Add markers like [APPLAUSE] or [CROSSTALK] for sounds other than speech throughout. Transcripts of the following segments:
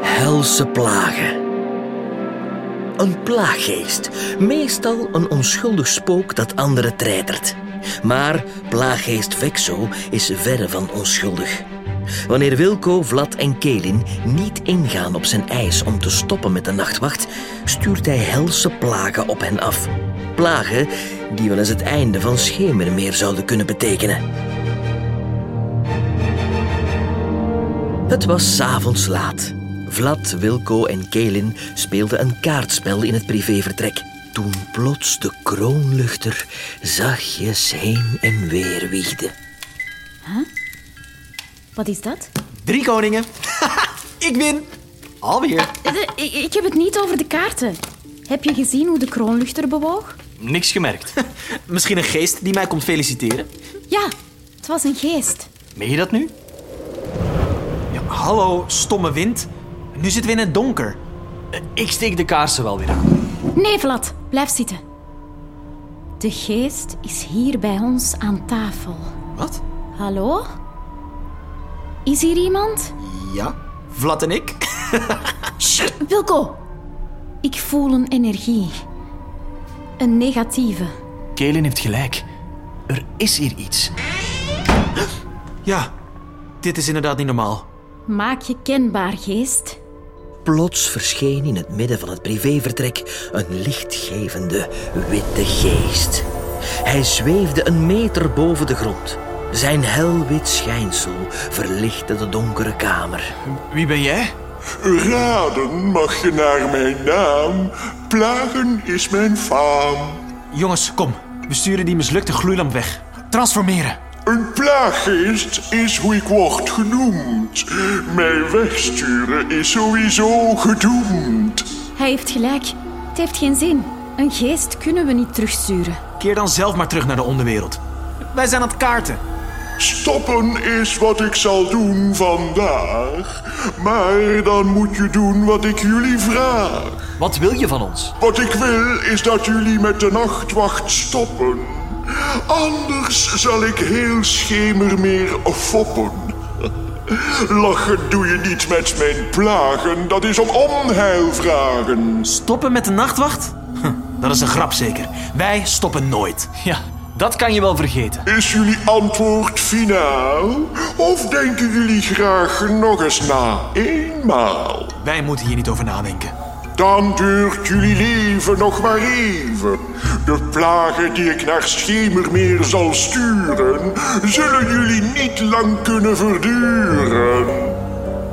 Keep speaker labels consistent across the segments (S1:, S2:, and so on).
S1: hemelse plagen. Een plaaggeest, meestal een onschuldig spook dat anderen treitert. Maar plaaggeest Vexo is verre van onschuldig. Wanneer Wilco, Vlad en Kelin niet ingaan op zijn eis om te stoppen met de nachtwacht, stuurt hij helse plagen op hen af. Plagen die wel eens het einde van Schemermeer zouden kunnen betekenen. Het was s'avonds laat. Vlad, Wilco en Kelin speelden een kaartspel in het privévertrek. Toen plots de kroonluchter zachtjes heen en weer wiegde.
S2: Wat is dat?
S3: Drie koningen. [LAUGHS] ik win. Alweer.
S2: Eh, eh, Ik, ik heb het niet over de kaarten. Heb je gezien hoe de kroonluchter bewoog?
S3: Niks gemerkt. Misschien een geest die mij komt feliciteren.
S2: Ja, het was een geest.
S3: Meen je dat nu? Ja, hallo, stomme wind. Nu zitten we in het donker. Eh, Ik steek de kaarsen wel weer aan.
S2: Nee, Vlad, blijf zitten. De geest is hier bij ons aan tafel.
S3: Wat?
S2: Hallo? Is hier iemand?
S3: Ja. Vlad en ik?
S2: Sst, Wilco! Ik voel een energie. Een negatieve.
S4: Kelen heeft gelijk. Er is hier iets.
S3: Ja. Dit is inderdaad niet normaal.
S2: Maak je kenbaar, geest.
S1: Plots verscheen in het midden van het privévertrek een lichtgevende witte geest. Hij zweefde een meter boven de grond. Zijn helwit schijnsel verlichtte de donkere kamer.
S3: Wie ben jij?
S5: Raden mag je naar mijn naam. Plagen is mijn faam.
S3: Jongens, kom. We sturen die mislukte gloeilamp weg. Transformeren.
S5: Een plaaggeest is hoe ik word genoemd. Mij wegsturen is sowieso gedoemd.
S2: Hij heeft gelijk. Het heeft geen zin. Een geest kunnen we niet terugsturen.
S3: Keer dan zelf maar terug naar de onderwereld. Wij zijn aan het kaarten.
S5: Stoppen is wat ik zal doen vandaag. Maar dan moet je doen wat ik jullie vraag.
S4: Wat wil je van ons?
S5: Wat ik wil is dat jullie met de nachtwacht stoppen. Anders zal ik heel schemermeer foppen. Lachen doe je niet met mijn plagen, dat is om onheil vragen.
S3: Stoppen met de nachtwacht? Huh, dat is een grap zeker. Wij stoppen nooit.
S4: Ja, dat kan je wel vergeten.
S5: Is jullie antwoord finaal? Of denken jullie graag nog eens na, eenmaal?
S3: Wij moeten hier niet over nadenken.
S5: Dan duurt jullie leven nog maar even. De plagen die ik naar Schemermeer zal sturen, zullen jullie niet lang kunnen verduren.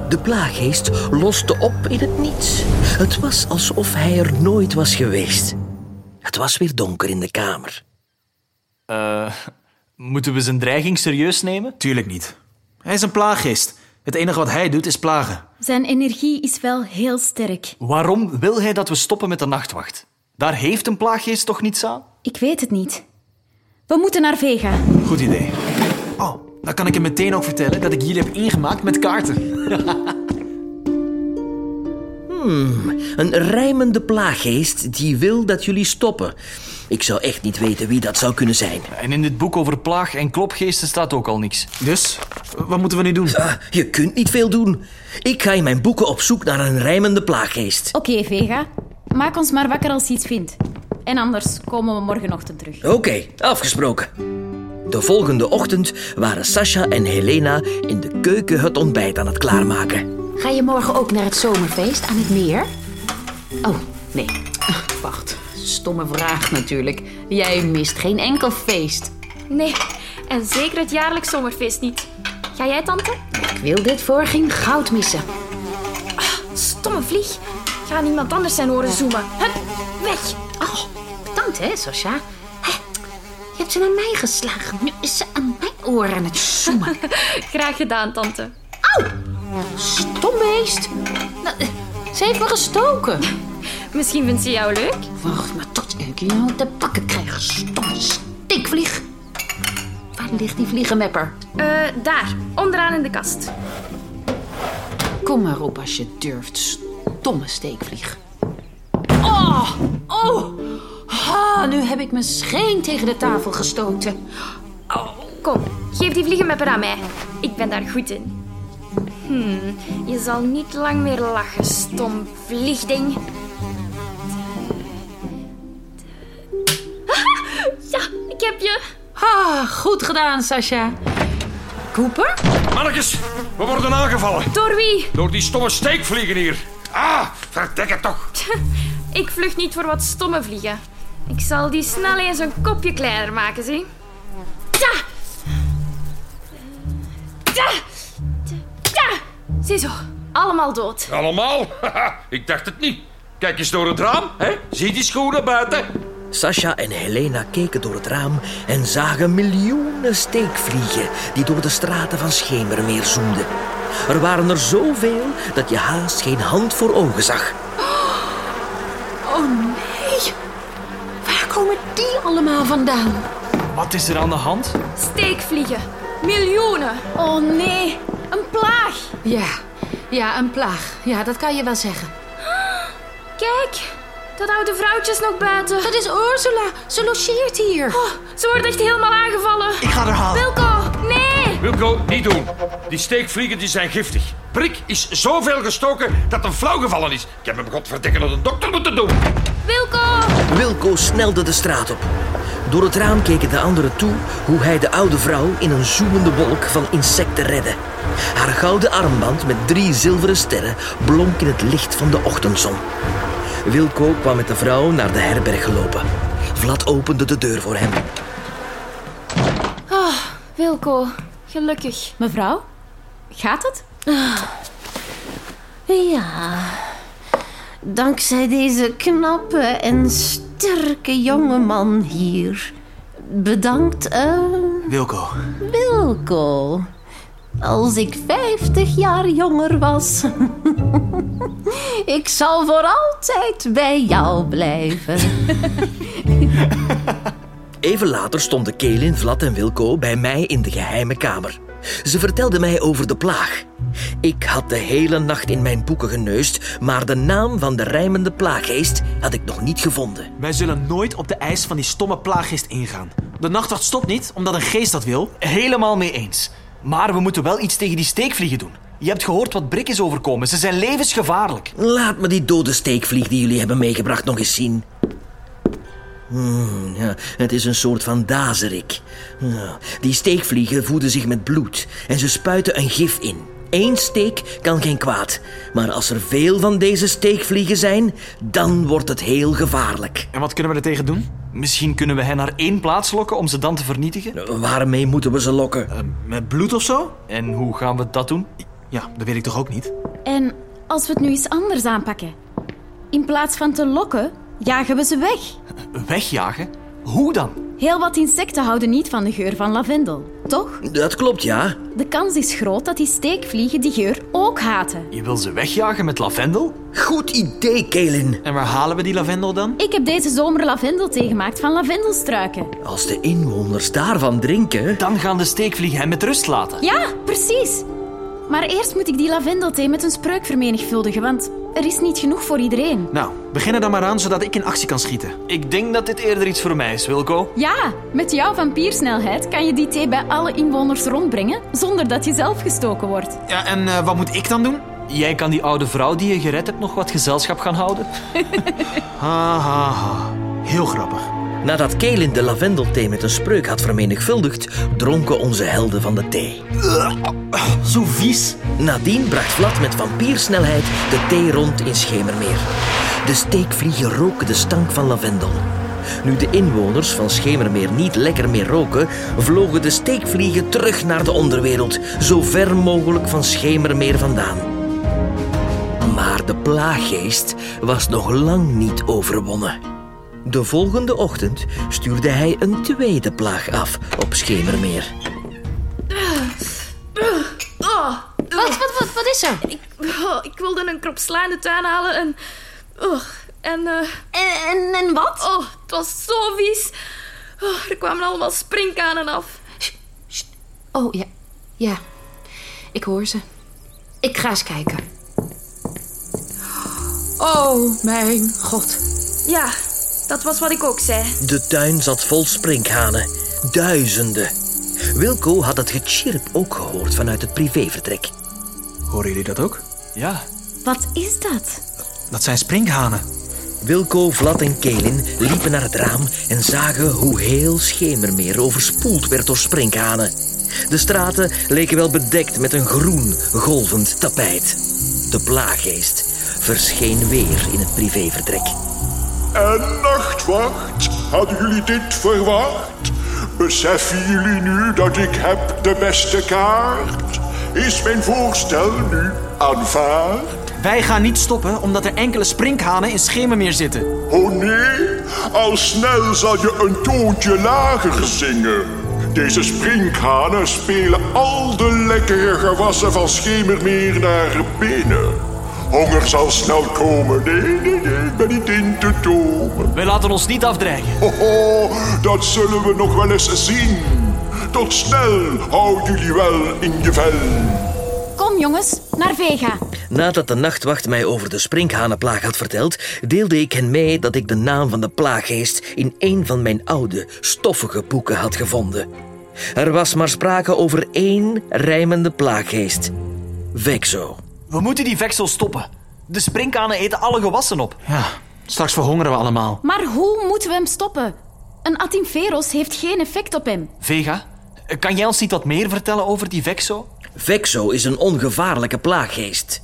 S1: De plaaggeest loste op in het niets. Het was alsof hij er nooit was geweest. Het was weer donker in de kamer.
S4: Moeten we zijn dreiging serieus nemen?
S3: Tuurlijk niet. Hij is een plaaggeest. Het enige wat hij doet is plagen.
S2: Zijn energie is wel heel sterk.
S4: Waarom wil hij dat we stoppen met de nachtwacht? Daar heeft een plaaggeest toch niets aan?
S2: Ik weet het niet. We moeten naar Vega.
S3: Goed idee. Oh, dan kan ik hem meteen ook vertellen dat ik jullie heb ingemaakt met kaarten.
S1: Een rijmende plaaggeest die wil dat jullie stoppen. Ik zou echt niet weten wie dat zou kunnen zijn.
S4: En in dit boek over plaag- en klopgeesten staat ook al niks.
S3: Dus, wat moeten we nu doen?
S1: Ah, je kunt niet veel doen. Ik ga in mijn boeken op zoek naar een rijmende plaaggeest.
S2: Oké, Vega. Maak ons maar wakker als je iets vindt. En anders komen we morgenochtend terug.
S1: Oké, afgesproken. De volgende ochtend waren Sasha en Helena in de keuken het ontbijt aan het klaarmaken.
S6: Ga je morgen ook naar het zomerfeest aan het meer? Oh, nee. Wacht, stomme vraag natuurlijk. Jij mist geen enkel feest.
S7: Nee, en zeker het jaarlijks zomerfeest niet. Ga jij, tante?
S6: Ik wil dit voor geen goud missen.
S7: Stomme vlieg. Ga niemand anders zijn horen zoomen. Hup, weg.
S6: Oh, bedankt hè, Sasha. Hè, Je hebt ze aan mij geslagen. Nu is ze aan mijn oren aan het [LAUGHS] zoemen.
S7: Graag gedaan, tante.
S6: Stom beest. Nou, eh, Ze heeft me gestoken.
S7: Misschien vindt ze jou leuk.
S6: Wacht maar tot ik jou te pakken krijg. Stomme stinkvlieg. Waar ligt die vliegenmepper?
S7: Eh, daar, onderaan in de kast.
S6: Kom maar op als je durft, stomme steekvlieg. Oh, oh, ha, Ah, nu heb ik mijn scheen tegen de tafel gestoten.
S7: Kom, geef die vliegenmepper aan mij. Ik ben daar goed in. Hmm, Je zal niet lang meer lachen, stom vliegding. Ah, Ja, ik heb je.
S6: Ah, goed gedaan, Sasha. Cooper?
S8: Mannetjes, we worden aangevallen
S7: Door wie?
S8: door die stomme steekvliegen hier. Ah, verdek het toch.
S7: Ik vlucht niet voor wat stomme vliegen. Ik zal die snel eens een kopje kleiner maken, zie. Ja! Ja! Ja! Ziezo, allemaal dood.
S8: Allemaal? [LAUGHS] Haha, Ik dacht het niet. Kijk eens door het raam, hè? Zie die schoenen buiten?
S1: Sasha en Helena keken door het raam en zagen miljoenen steekvliegen die door de straten van Schemermeer zoemden. Er waren er zoveel dat je haast geen hand voor ogen zag.
S6: Oh nee. Waar komen die allemaal vandaan?
S4: Wat is er aan de hand?
S7: Steekvliegen. Miljoenen.
S6: Oh nee.
S7: Een plaag.
S6: Ja, ja, een plaag. Ja, dat kan je wel zeggen.
S7: Kijk, dat oude vrouwtje is nog buiten.
S6: Dat is Ursula. Ze logeert hier.
S7: Oh, ze wordt echt helemaal aangevallen.
S3: Ik ga er halen.
S7: Wilco, nee!
S8: Wilco, niet doen. Die steekvliegen die zijn giftig. Prik is zoveel gestoken dat hem flauw gevallen is. Ik heb hem godverdikke naar de dokter moeten doen.
S7: Wilco!
S1: Wilco snelde de straat op. Door het raam keken de anderen toe hoe hij de oude vrouw in een zoemende wolk van insecten redde. Haar gouden armband met drie zilveren sterren blonk in het licht van de ochtendzon. Wilco kwam met de vrouw naar de herberg gelopen. Vlad opende de deur voor hem.
S7: Wilco, gelukkig.
S2: Mevrouw, gaat het?
S9: Ja, dankzij deze knappe en sterke jonge man hier. Bedankt, eh,
S3: Wilco.
S9: Wilco. Als ik 50 jaar jonger was. [LAUGHS] ik zal voor altijd bij jou blijven.
S1: Even later stonden Kelin, Vlad en Wilco bij mij in de geheime kamer. Ze vertelden mij over de plaag. Ik had de hele nacht in mijn boeken geneust, maar de naam van de rijmende plaaggeest had ik nog niet gevonden.
S3: Wij zullen nooit op de eis van die stomme plaaggeest ingaan. De nachtwacht stopt niet, omdat een geest dat wil.
S4: Helemaal mee eens. Maar we moeten wel iets tegen die steekvliegen doen. Je hebt gehoord wat Brik is overkomen. Ze zijn levensgevaarlijk.
S1: Laat me die dode steekvlieg die jullie hebben meegebracht nog eens zien. Hmm, ja, het is een soort van dazerik. Ja, die steekvliegen voeden zich met bloed en ze spuiten een gif in. Eén steek kan geen kwaad, maar als er veel van deze steekvliegen zijn, dan wordt het heel gevaarlijk.
S3: En wat kunnen we er tegen doen?
S4: Misschien kunnen we hen naar één plaats lokken om ze dan te vernietigen.
S1: Nou. Waarmee moeten we ze lokken?
S3: Met bloed of zo?
S4: En hoe gaan we dat doen?
S3: Ja, dat weet ik toch ook niet?
S2: En als we het nu eens anders aanpakken? In plaats van te lokken, jagen we ze weg.
S4: Wegjagen? Hoe dan?
S2: Heel wat insecten houden niet van de geur van lavendel, toch?
S1: Dat klopt, ja.
S2: De kans is groot dat die steekvliegen die geur ook haten.
S4: Je wil ze wegjagen met lavendel?
S1: Goed idee, Kelin.
S3: En waar halen we die lavendel dan?
S2: Ik heb deze zomer lavendel tegemaakt van lavendelstruiken.
S1: Als de inwoners daarvan drinken...
S4: Dan gaan de steekvliegen hen met rust laten.
S2: Ja, precies. Maar eerst moet ik die lavendelthee met een spreuk vermenigvuldigen, want er is niet genoeg voor iedereen.
S3: Nou, begin er dan maar aan, zodat ik in actie kan schieten.
S4: Ik denk dat dit eerder iets voor mij is, Wilco.
S2: Ja, met jouw vampiersnelheid kan je die thee bij alle inwoners rondbrengen zonder dat je zelf gestoken wordt.
S3: Ja, en eh, wat moet ik dan doen?
S4: Jij kan die oude vrouw die je gered hebt nog wat gezelschap gaan houden.
S3: Ha, ha, ha. Heel grappig.
S1: Nadat Kelin de lavendelthee met een spreuk had vermenigvuldigd, dronken onze helden van de thee.
S3: Zo vies.
S1: Nadien bracht Vlad met vampiersnelheid de thee rond in Schemermeer. De steekvliegen roken de stank van lavendel. Nu de inwoners van Schemermeer niet lekker meer roken, vlogen de steekvliegen terug naar de onderwereld, zo ver mogelijk van Schemermeer vandaan. Maar de plaaggeest was nog lang niet overwonnen. De volgende ochtend stuurde hij een tweede plaag af op Schemermeer.
S7: Oh,
S6: Wat, wat, wat, wat is er?
S7: ik, oh, ik wilde een krop sla in de tuin halen en... Oh, en... eh,
S9: En, en, en wat?
S7: oh, het was zo vies. Oh, er kwamen allemaal springkanen af.
S6: Oh ja, ja. Ik hoor ze. Ik ga eens kijken. Oh mijn god.
S7: Ja, dat was wat ik ook zei.
S1: De tuin zat vol sprinkhanen. Duizenden. Wilco had het gechirp ook gehoord vanuit het privévertrek.
S3: Horen jullie dat ook?
S4: Ja.
S2: Wat is dat?
S3: Dat zijn sprinkhanen.
S1: Wilco, Vlad en Kelin liepen naar het raam en zagen hoe heel Schemermeer overspoeld werd door sprinkhanen. De straten leken wel bedekt met een groen, golvend tapijt. De plaaggeest verscheen weer in het privévertrek.
S5: En nachtwacht, hadden jullie dit verwacht? Beseffen jullie nu dat ik heb de beste kaart? Is mijn voorstel nu aanvaard?
S3: Wij gaan niet stoppen omdat er enkele sprinkhanen in Schemermeer zitten.
S5: Oh nee, al snel zal je een toontje lager zingen. Deze sprinkhanen spelen al de lekkere gewassen van Schemermeer naar binnen. Honger zal snel komen. Nee, nee, nee, ik ben niet in te tomen.
S4: Wij laten ons niet afdreigen.
S5: Ho, ho, dat zullen we nog wel eens zien. Tot snel, houd jullie wel in je vel.
S2: Kom jongens, naar Vega.
S1: Nadat de nachtwacht mij over de sprinkhanenplaag had verteld, deelde ik hen mee dat ik de naam van de plaaggeest in een van mijn oude, stoffige boeken had gevonden. Er was maar sprake over één rijmende plaaggeest. Vexo.
S4: We moeten die veksel stoppen. De sprinkhanen eten alle gewassen op.
S3: Ja, Ah, straks verhongeren we allemaal.
S2: Maar hoe moeten we hem stoppen? Een Atimferos heeft geen effect op hem.
S4: Vega, kan jij ons niet wat meer vertellen over die vexo?
S1: Vexo is een ongevaarlijke plaaggeest.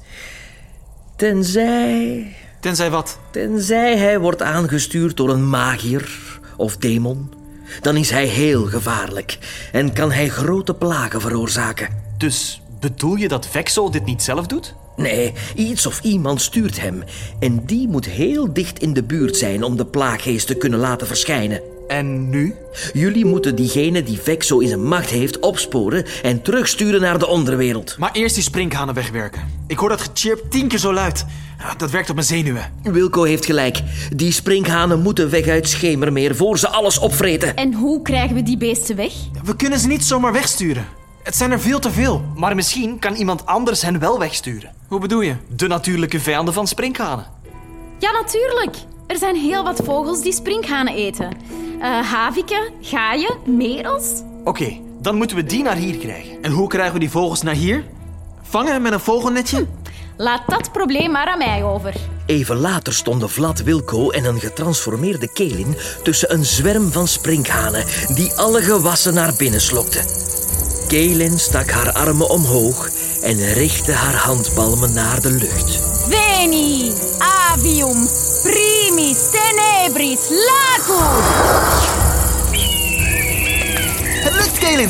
S1: Tenzij...
S3: Tenzij wat?
S1: Tenzij hij wordt aangestuurd door een magier of demon. Dan is hij heel gevaarlijk en kan hij grote plagen veroorzaken.
S4: Dus bedoel je dat Vexo dit niet zelf doet?
S1: Nee, iets of iemand stuurt hem. En die moet heel dicht in de buurt zijn om de plaaggeest te kunnen laten verschijnen.
S4: En nu?
S1: Jullie moeten diegene die Vexo in zijn macht heeft opsporen en terugsturen naar de onderwereld.
S3: Maar eerst die sprinkhanen wegwerken. Ik hoor dat gechirp tien keer zo luid. Ja, Dat werkt op mijn zenuwen.
S1: Wilco heeft gelijk. Die sprinkhanen moeten weg uit Schemermeer voor ze alles opvreten.
S2: En hoe krijgen we die beesten weg?
S3: We kunnen ze niet zomaar wegsturen. Het zijn er veel te veel.
S4: Maar misschien kan iemand anders hen wel wegsturen.
S3: Hoe bedoel je?
S4: De natuurlijke vijanden van sprinkhanen.
S2: Ja, natuurlijk. Er zijn heel wat vogels die sprinkhanen eten. Eh haviken, gaaien, merels.
S4: Oké, dan moeten we die naar hier krijgen.
S3: En hoe krijgen we die vogels naar hier? Vangen met een vogelnetje?
S2: Laat dat probleem maar aan mij over.
S1: Even later stonden Vlad Wilco en een getransformeerde Kelin tussen een zwerm van sprinkhanen die alle gewassen naar binnen slokten. Kelin stak haar armen omhoog en richtte haar handpalmen naar de lucht.
S2: Veni, avium, primis, tenebris, lacus.
S4: Het lukt, Kelin!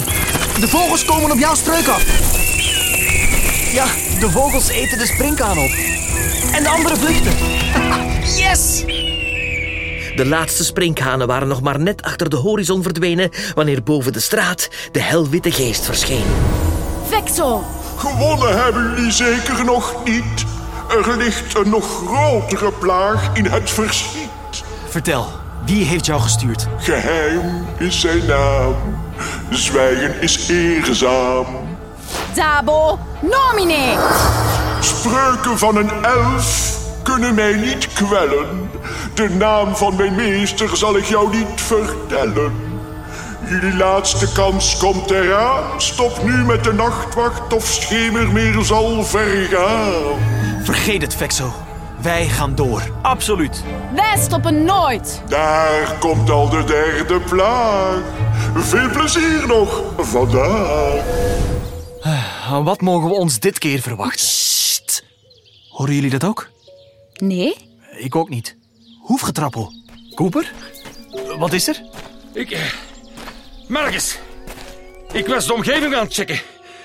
S4: De vogels komen op jouw struik af. Ja, de vogels eten de sprinkhaan op. En de anderen vluchten. Yes!
S1: De laatste sprinkhanen waren nog maar net achter de horizon verdwenen wanneer boven de straat de helwitte geest verscheen.
S2: Vexo,
S5: Gewonnen hebben jullie zeker nog niet. Er ligt een nog grotere plaag in het verschiet.
S3: Vertel, wie heeft jou gestuurd?
S5: Geheim is zijn naam. Zwijgen is eerzaam.
S2: dabo, nomine.
S5: Spreuken van een elf kunnen mij niet kwellen. De naam van mijn meester zal ik jou niet vertellen. Jullie laatste kans komt eraan. Stop nu met de nachtwacht of schemermeer zal vergaan.
S3: Vergeet het, Vexo. Wij gaan door.
S4: Absoluut.
S2: Wij stoppen nooit.
S5: Daar komt al de derde plaag. Veel plezier nog vandaag.
S4: Wat mogen we ons dit keer verwachten?
S3: Horen jullie dat ook?
S2: Nee?
S4: Ik ook niet.
S3: Hoefgetrappel.
S4: Cooper? Wat is er?
S8: Ik... eh, Marcus, ik was de omgeving aan het checken.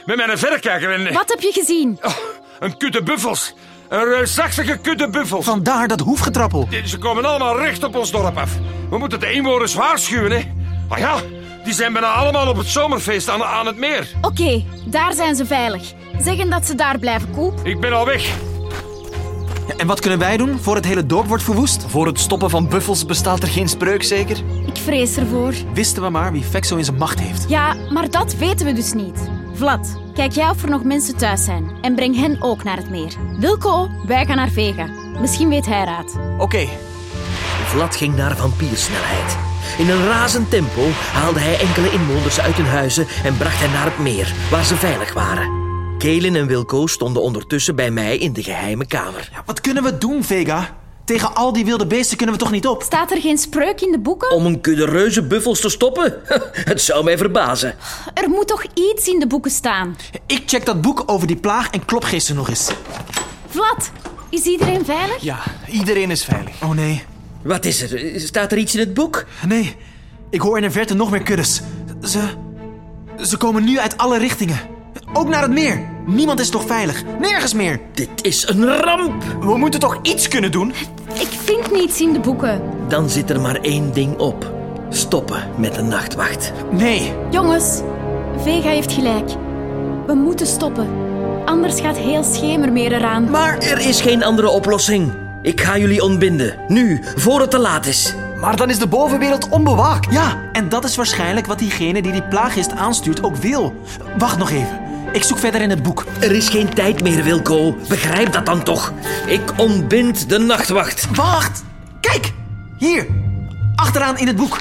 S8: Met mijn verrekijker en... eh,
S2: Wat heb je gezien?
S8: oh, een kutte buffels. Een reusachtige kutte buffels.
S3: Vandaar dat hoefgetrappel.
S8: Die- Ze komen allemaal recht op ons dorp af. We moeten de inwoners waarschuwen, hè. Ah ja, die zijn bijna allemaal op het zomerfeest aan, aan het meer.
S2: Oké, daar zijn ze veilig. Zeggen dat ze daar blijven koop.
S8: Ik ben al weg.
S3: En wat kunnen wij doen voor het hele dorp wordt verwoest?
S4: Voor het stoppen van buffels bestaat er geen spreuk, zeker?
S2: Ik vrees ervoor.
S3: Wisten we maar wie Vexo in zijn macht heeft.
S2: Ja, maar dat weten we dus niet. Vlad, kijk jij of er nog mensen thuis zijn en breng hen ook naar het meer. Wilco, wij gaan naar Vega. Misschien weet hij raad.
S4: Oké,
S1: Vlad ging naar vampiersnelheid. In een razend tempo haalde hij enkele inwoners uit hun huizen en bracht hen naar het meer, waar ze veilig waren. Galen en Wilco stonden ondertussen bij mij in de geheime kamer.
S3: Wat kunnen we doen, Vega? Tegen al die wilde beesten kunnen we toch niet op?
S2: Staat er geen spreuk in de boeken?
S1: Om een kudde reuzenbuffels te stoppen? [LAUGHS] Het zou mij verbazen.
S2: Er moet toch iets in de boeken staan?
S3: Ik check dat boek over die plaag en klop gisteren nog eens.
S2: Vlad, is iedereen veilig?
S4: Ja, iedereen is veilig.
S3: Oh nee.
S1: Wat is er? Staat er iets in het boek?
S3: Nee, ik hoor in de verte nog meer kuddes. Ze. Ze komen nu uit alle richtingen. Ook naar het meer. Niemand is toch veilig? Nergens meer.
S1: Dit is een ramp!
S4: We moeten toch iets kunnen doen?
S2: Ik vind niets in de boeken.
S1: Dan zit er maar één ding op. Stoppen met de nachtwacht.
S3: Nee.
S2: Jongens, Vega heeft gelijk. We moeten stoppen. Anders gaat heel Schemermeer eraan.
S1: Maar er is geen andere oplossing. Ik ga jullie ontbinden. Nu, voor het te laat is.
S4: Maar dan is de bovenwereld onbewaakt.
S3: Ja, en dat is waarschijnlijk wat diegene die die plaagist aanstuurt ook wil. Wacht nog even. Ik zoek verder in het boek.
S1: Er is geen tijd meer, Wilco. Begrijp dat dan toch. Ik ontbind de nachtwacht.
S3: Wacht! Kijk! Hier! Achteraan in het boek.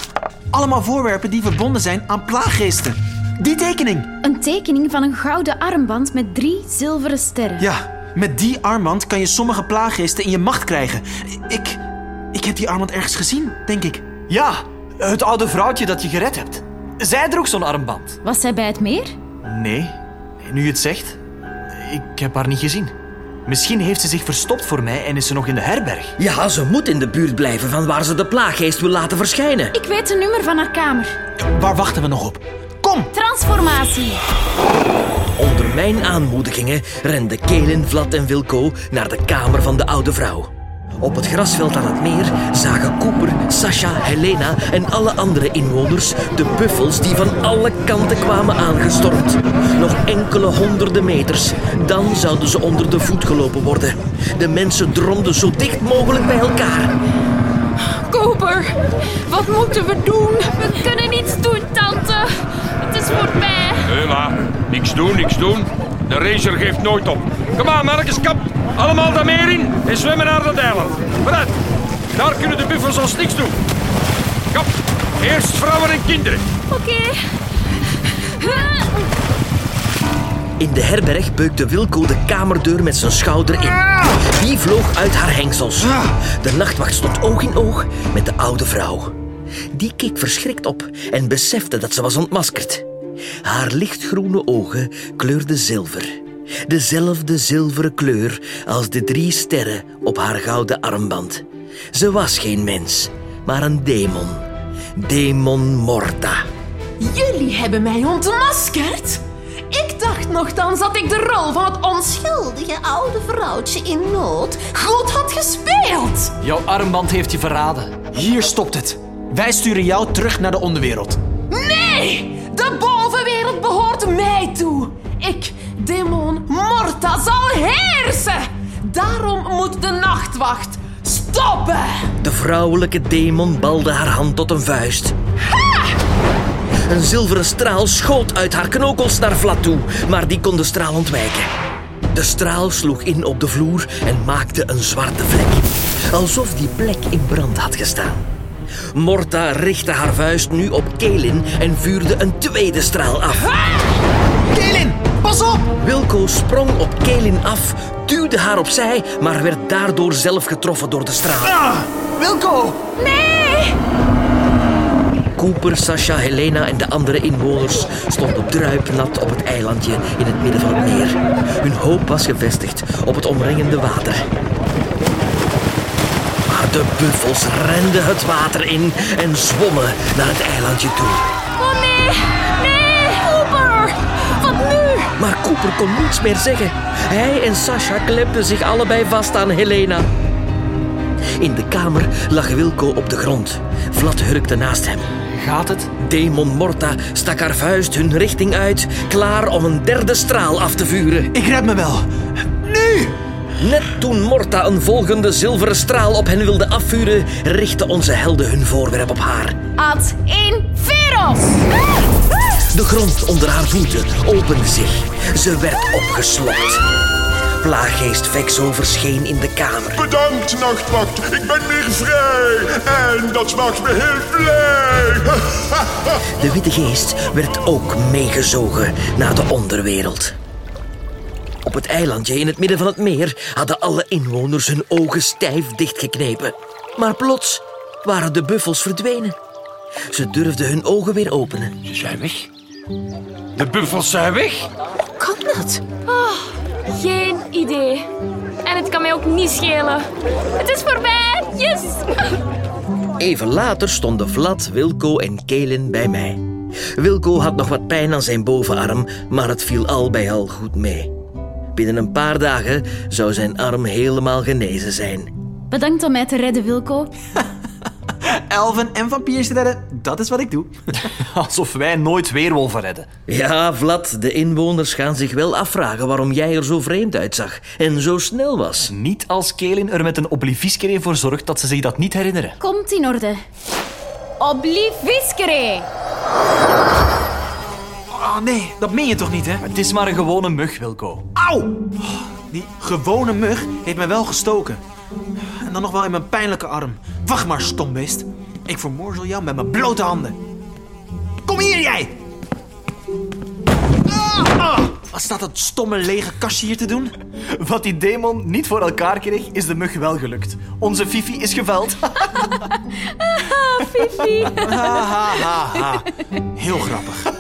S3: Allemaal voorwerpen die verbonden zijn aan plaaggeesten. Die tekening.
S2: Een tekening van een gouden armband met drie zilveren sterren.
S3: Ja, met die armband kan je sommige plaaggeesten in je macht krijgen. Ik... Ik heb die armband ergens gezien, denk ik.
S4: Ja, het oude vrouwtje dat je gered hebt. Zij droeg zo'n armband.
S2: Was zij bij het meer?
S4: Nee, nu je het zegt, ik heb haar niet gezien. Misschien heeft ze zich verstopt voor mij en is ze nog in de herberg.
S1: Ja, ze moet in de buurt blijven van waar ze de plaaggeest wil laten verschijnen.
S2: Ik weet de nummer van haar kamer.
S3: Waar wachten we nog op? Kom!
S2: Transformatie.
S1: Onder mijn aanmoedigingen renden Kelen, Vlad en Wilco naar de kamer van de oude vrouw. Op het grasveld aan het meer zagen Cooper, Sasha, Helena en alle andere inwoners de buffels die van alle kanten kwamen aangestormd. Nog enkele honderden meters, dan zouden ze onder de voet gelopen worden. De mensen dromden zo dicht mogelijk bij elkaar.
S7: Koper, wat moeten we doen? We kunnen niets doen, tante. Het is voorbij.
S8: Hela, niks doen, niks doen. De racer geeft nooit op. Kom aan, mannetjes, kap. Allemaal daar meer in en zwemmen naar dat eiland. Vooruit. Daar kunnen de buffels ons niks doen. Kap, eerst vrouwen en kinderen.
S7: Oké. Huh.
S1: In de herberg beukte Wilco de kamerdeur met zijn schouder in. Die vloog uit haar hengsels. De nachtwacht stond oog in oog met de oude vrouw. Die keek verschrikt op en besefte dat ze was ontmaskerd. Haar lichtgroene ogen kleurden zilver. Dezelfde zilveren kleur als de drie sterren op haar gouden armband. Ze was geen mens, maar een demon. Demon Morta.
S6: Jullie hebben mij ontmaskerd? Ik dacht nogthans dat ik de rol van het onschuldige oude vrouwtje in nood goed had gespeeld.
S4: Jouw armband heeft je verraden.
S3: Hier stopt het. Wij sturen jou terug naar de onderwereld.
S6: Nee! De bovenwereld behoort mij toe. Ik, demon Morta, zal heersen. Daarom moet de nachtwacht stoppen.
S1: De vrouwelijke demon balde haar hand tot een vuist. Een zilveren straal schoot uit haar knokels naar Vlad toe, maar die kon de straal ontwijken. De straal sloeg in op de vloer en maakte een zwarte vlek. Alsof die plek in brand had gestaan. Morta richtte haar vuist nu op Kelin en vuurde een tweede straal af.
S3: Kelin, pas op!
S1: Wilco sprong op Kelin af, duwde haar opzij, maar werd daardoor zelf getroffen door de straal.
S3: Ah, Wilco!
S7: Nee!
S1: Cooper, Sasha, Helena en de andere inwoners stonden druipnat op het eilandje in het midden van het meer. Hun hoop was gevestigd op het omringende water. Maar de buffels renden het water in en zwommen naar het eilandje toe.
S7: Oh nee! Nee! Koper! Wat nu?
S1: Maar Cooper kon niets meer zeggen. Hij en Sasha klepten zich allebei vast aan Helena. In de kamer lag Wilco op de grond. Vlad hurkte naast hem.
S4: Gaat het?
S1: Demon Morta stak haar vuist hun richting uit, klaar om een derde straal af te vuren.
S3: Ik red me wel. Nu!
S1: Net toen Morta een volgende zilveren straal op hen wilde afvuren, richtte onze helden hun voorwerp op haar.
S2: Ad in Veros.
S1: De grond onder haar voeten opende zich. Ze werd opgeslokt. Plaaggeest Vexo verscheen in de kamer.
S5: Bedankt, nachtwacht. Ik ben weer vrij. En dat maakt me heel blij. [LAUGHS]
S1: De witte geest werd ook meegezogen naar de onderwereld. Op het eilandje in het midden van het meer hadden alle inwoners hun ogen stijf dichtgeknepen. Maar plots waren de buffels verdwenen. Ze durfden hun ogen weer openen.
S8: Ze zijn weg. De buffels zijn weg.
S6: Kan dat?
S7: Geen idee. En het kan mij ook niet schelen. Het is voorbij! Yes!
S1: Even later stonden Vlad, Wilco en Kelen bij mij. Wilco had nog wat pijn aan zijn bovenarm, maar het viel al bij al goed mee. Binnen een paar dagen zou zijn arm helemaal genezen zijn.
S2: Bedankt om mij te redden, Wilco.
S3: Elven en vampiers redden, dat is wat ik doe.
S4: Alsof wij nooit weerwolven redden.
S1: Ja, Vlad, de inwoners gaan zich wel afvragen waarom jij er zo vreemd uitzag en zo snel was.
S4: Niet als Kelin er met een oblivieskering voor zorgt dat ze zich dat niet herinneren.
S2: Komt in orde. Obliviscere!
S3: Oh nee, dat meen je toch niet, hè?
S4: Het is maar een gewone mug, Wilco.
S3: Auw! Die gewone mug heeft mij wel gestoken. En dan nog wel in mijn pijnlijke arm. Wacht maar, stombeest. Ik vermoorzel jou met mijn blote handen. Kom hier, jij! Ah, ah. Wat staat dat stomme lege kastje hier te doen?
S4: Wat die demon niet voor elkaar kreeg, is de mug wel gelukt. Onze Fifi is geveld.
S3: Ha, ha, ha, ha. Heel grappig.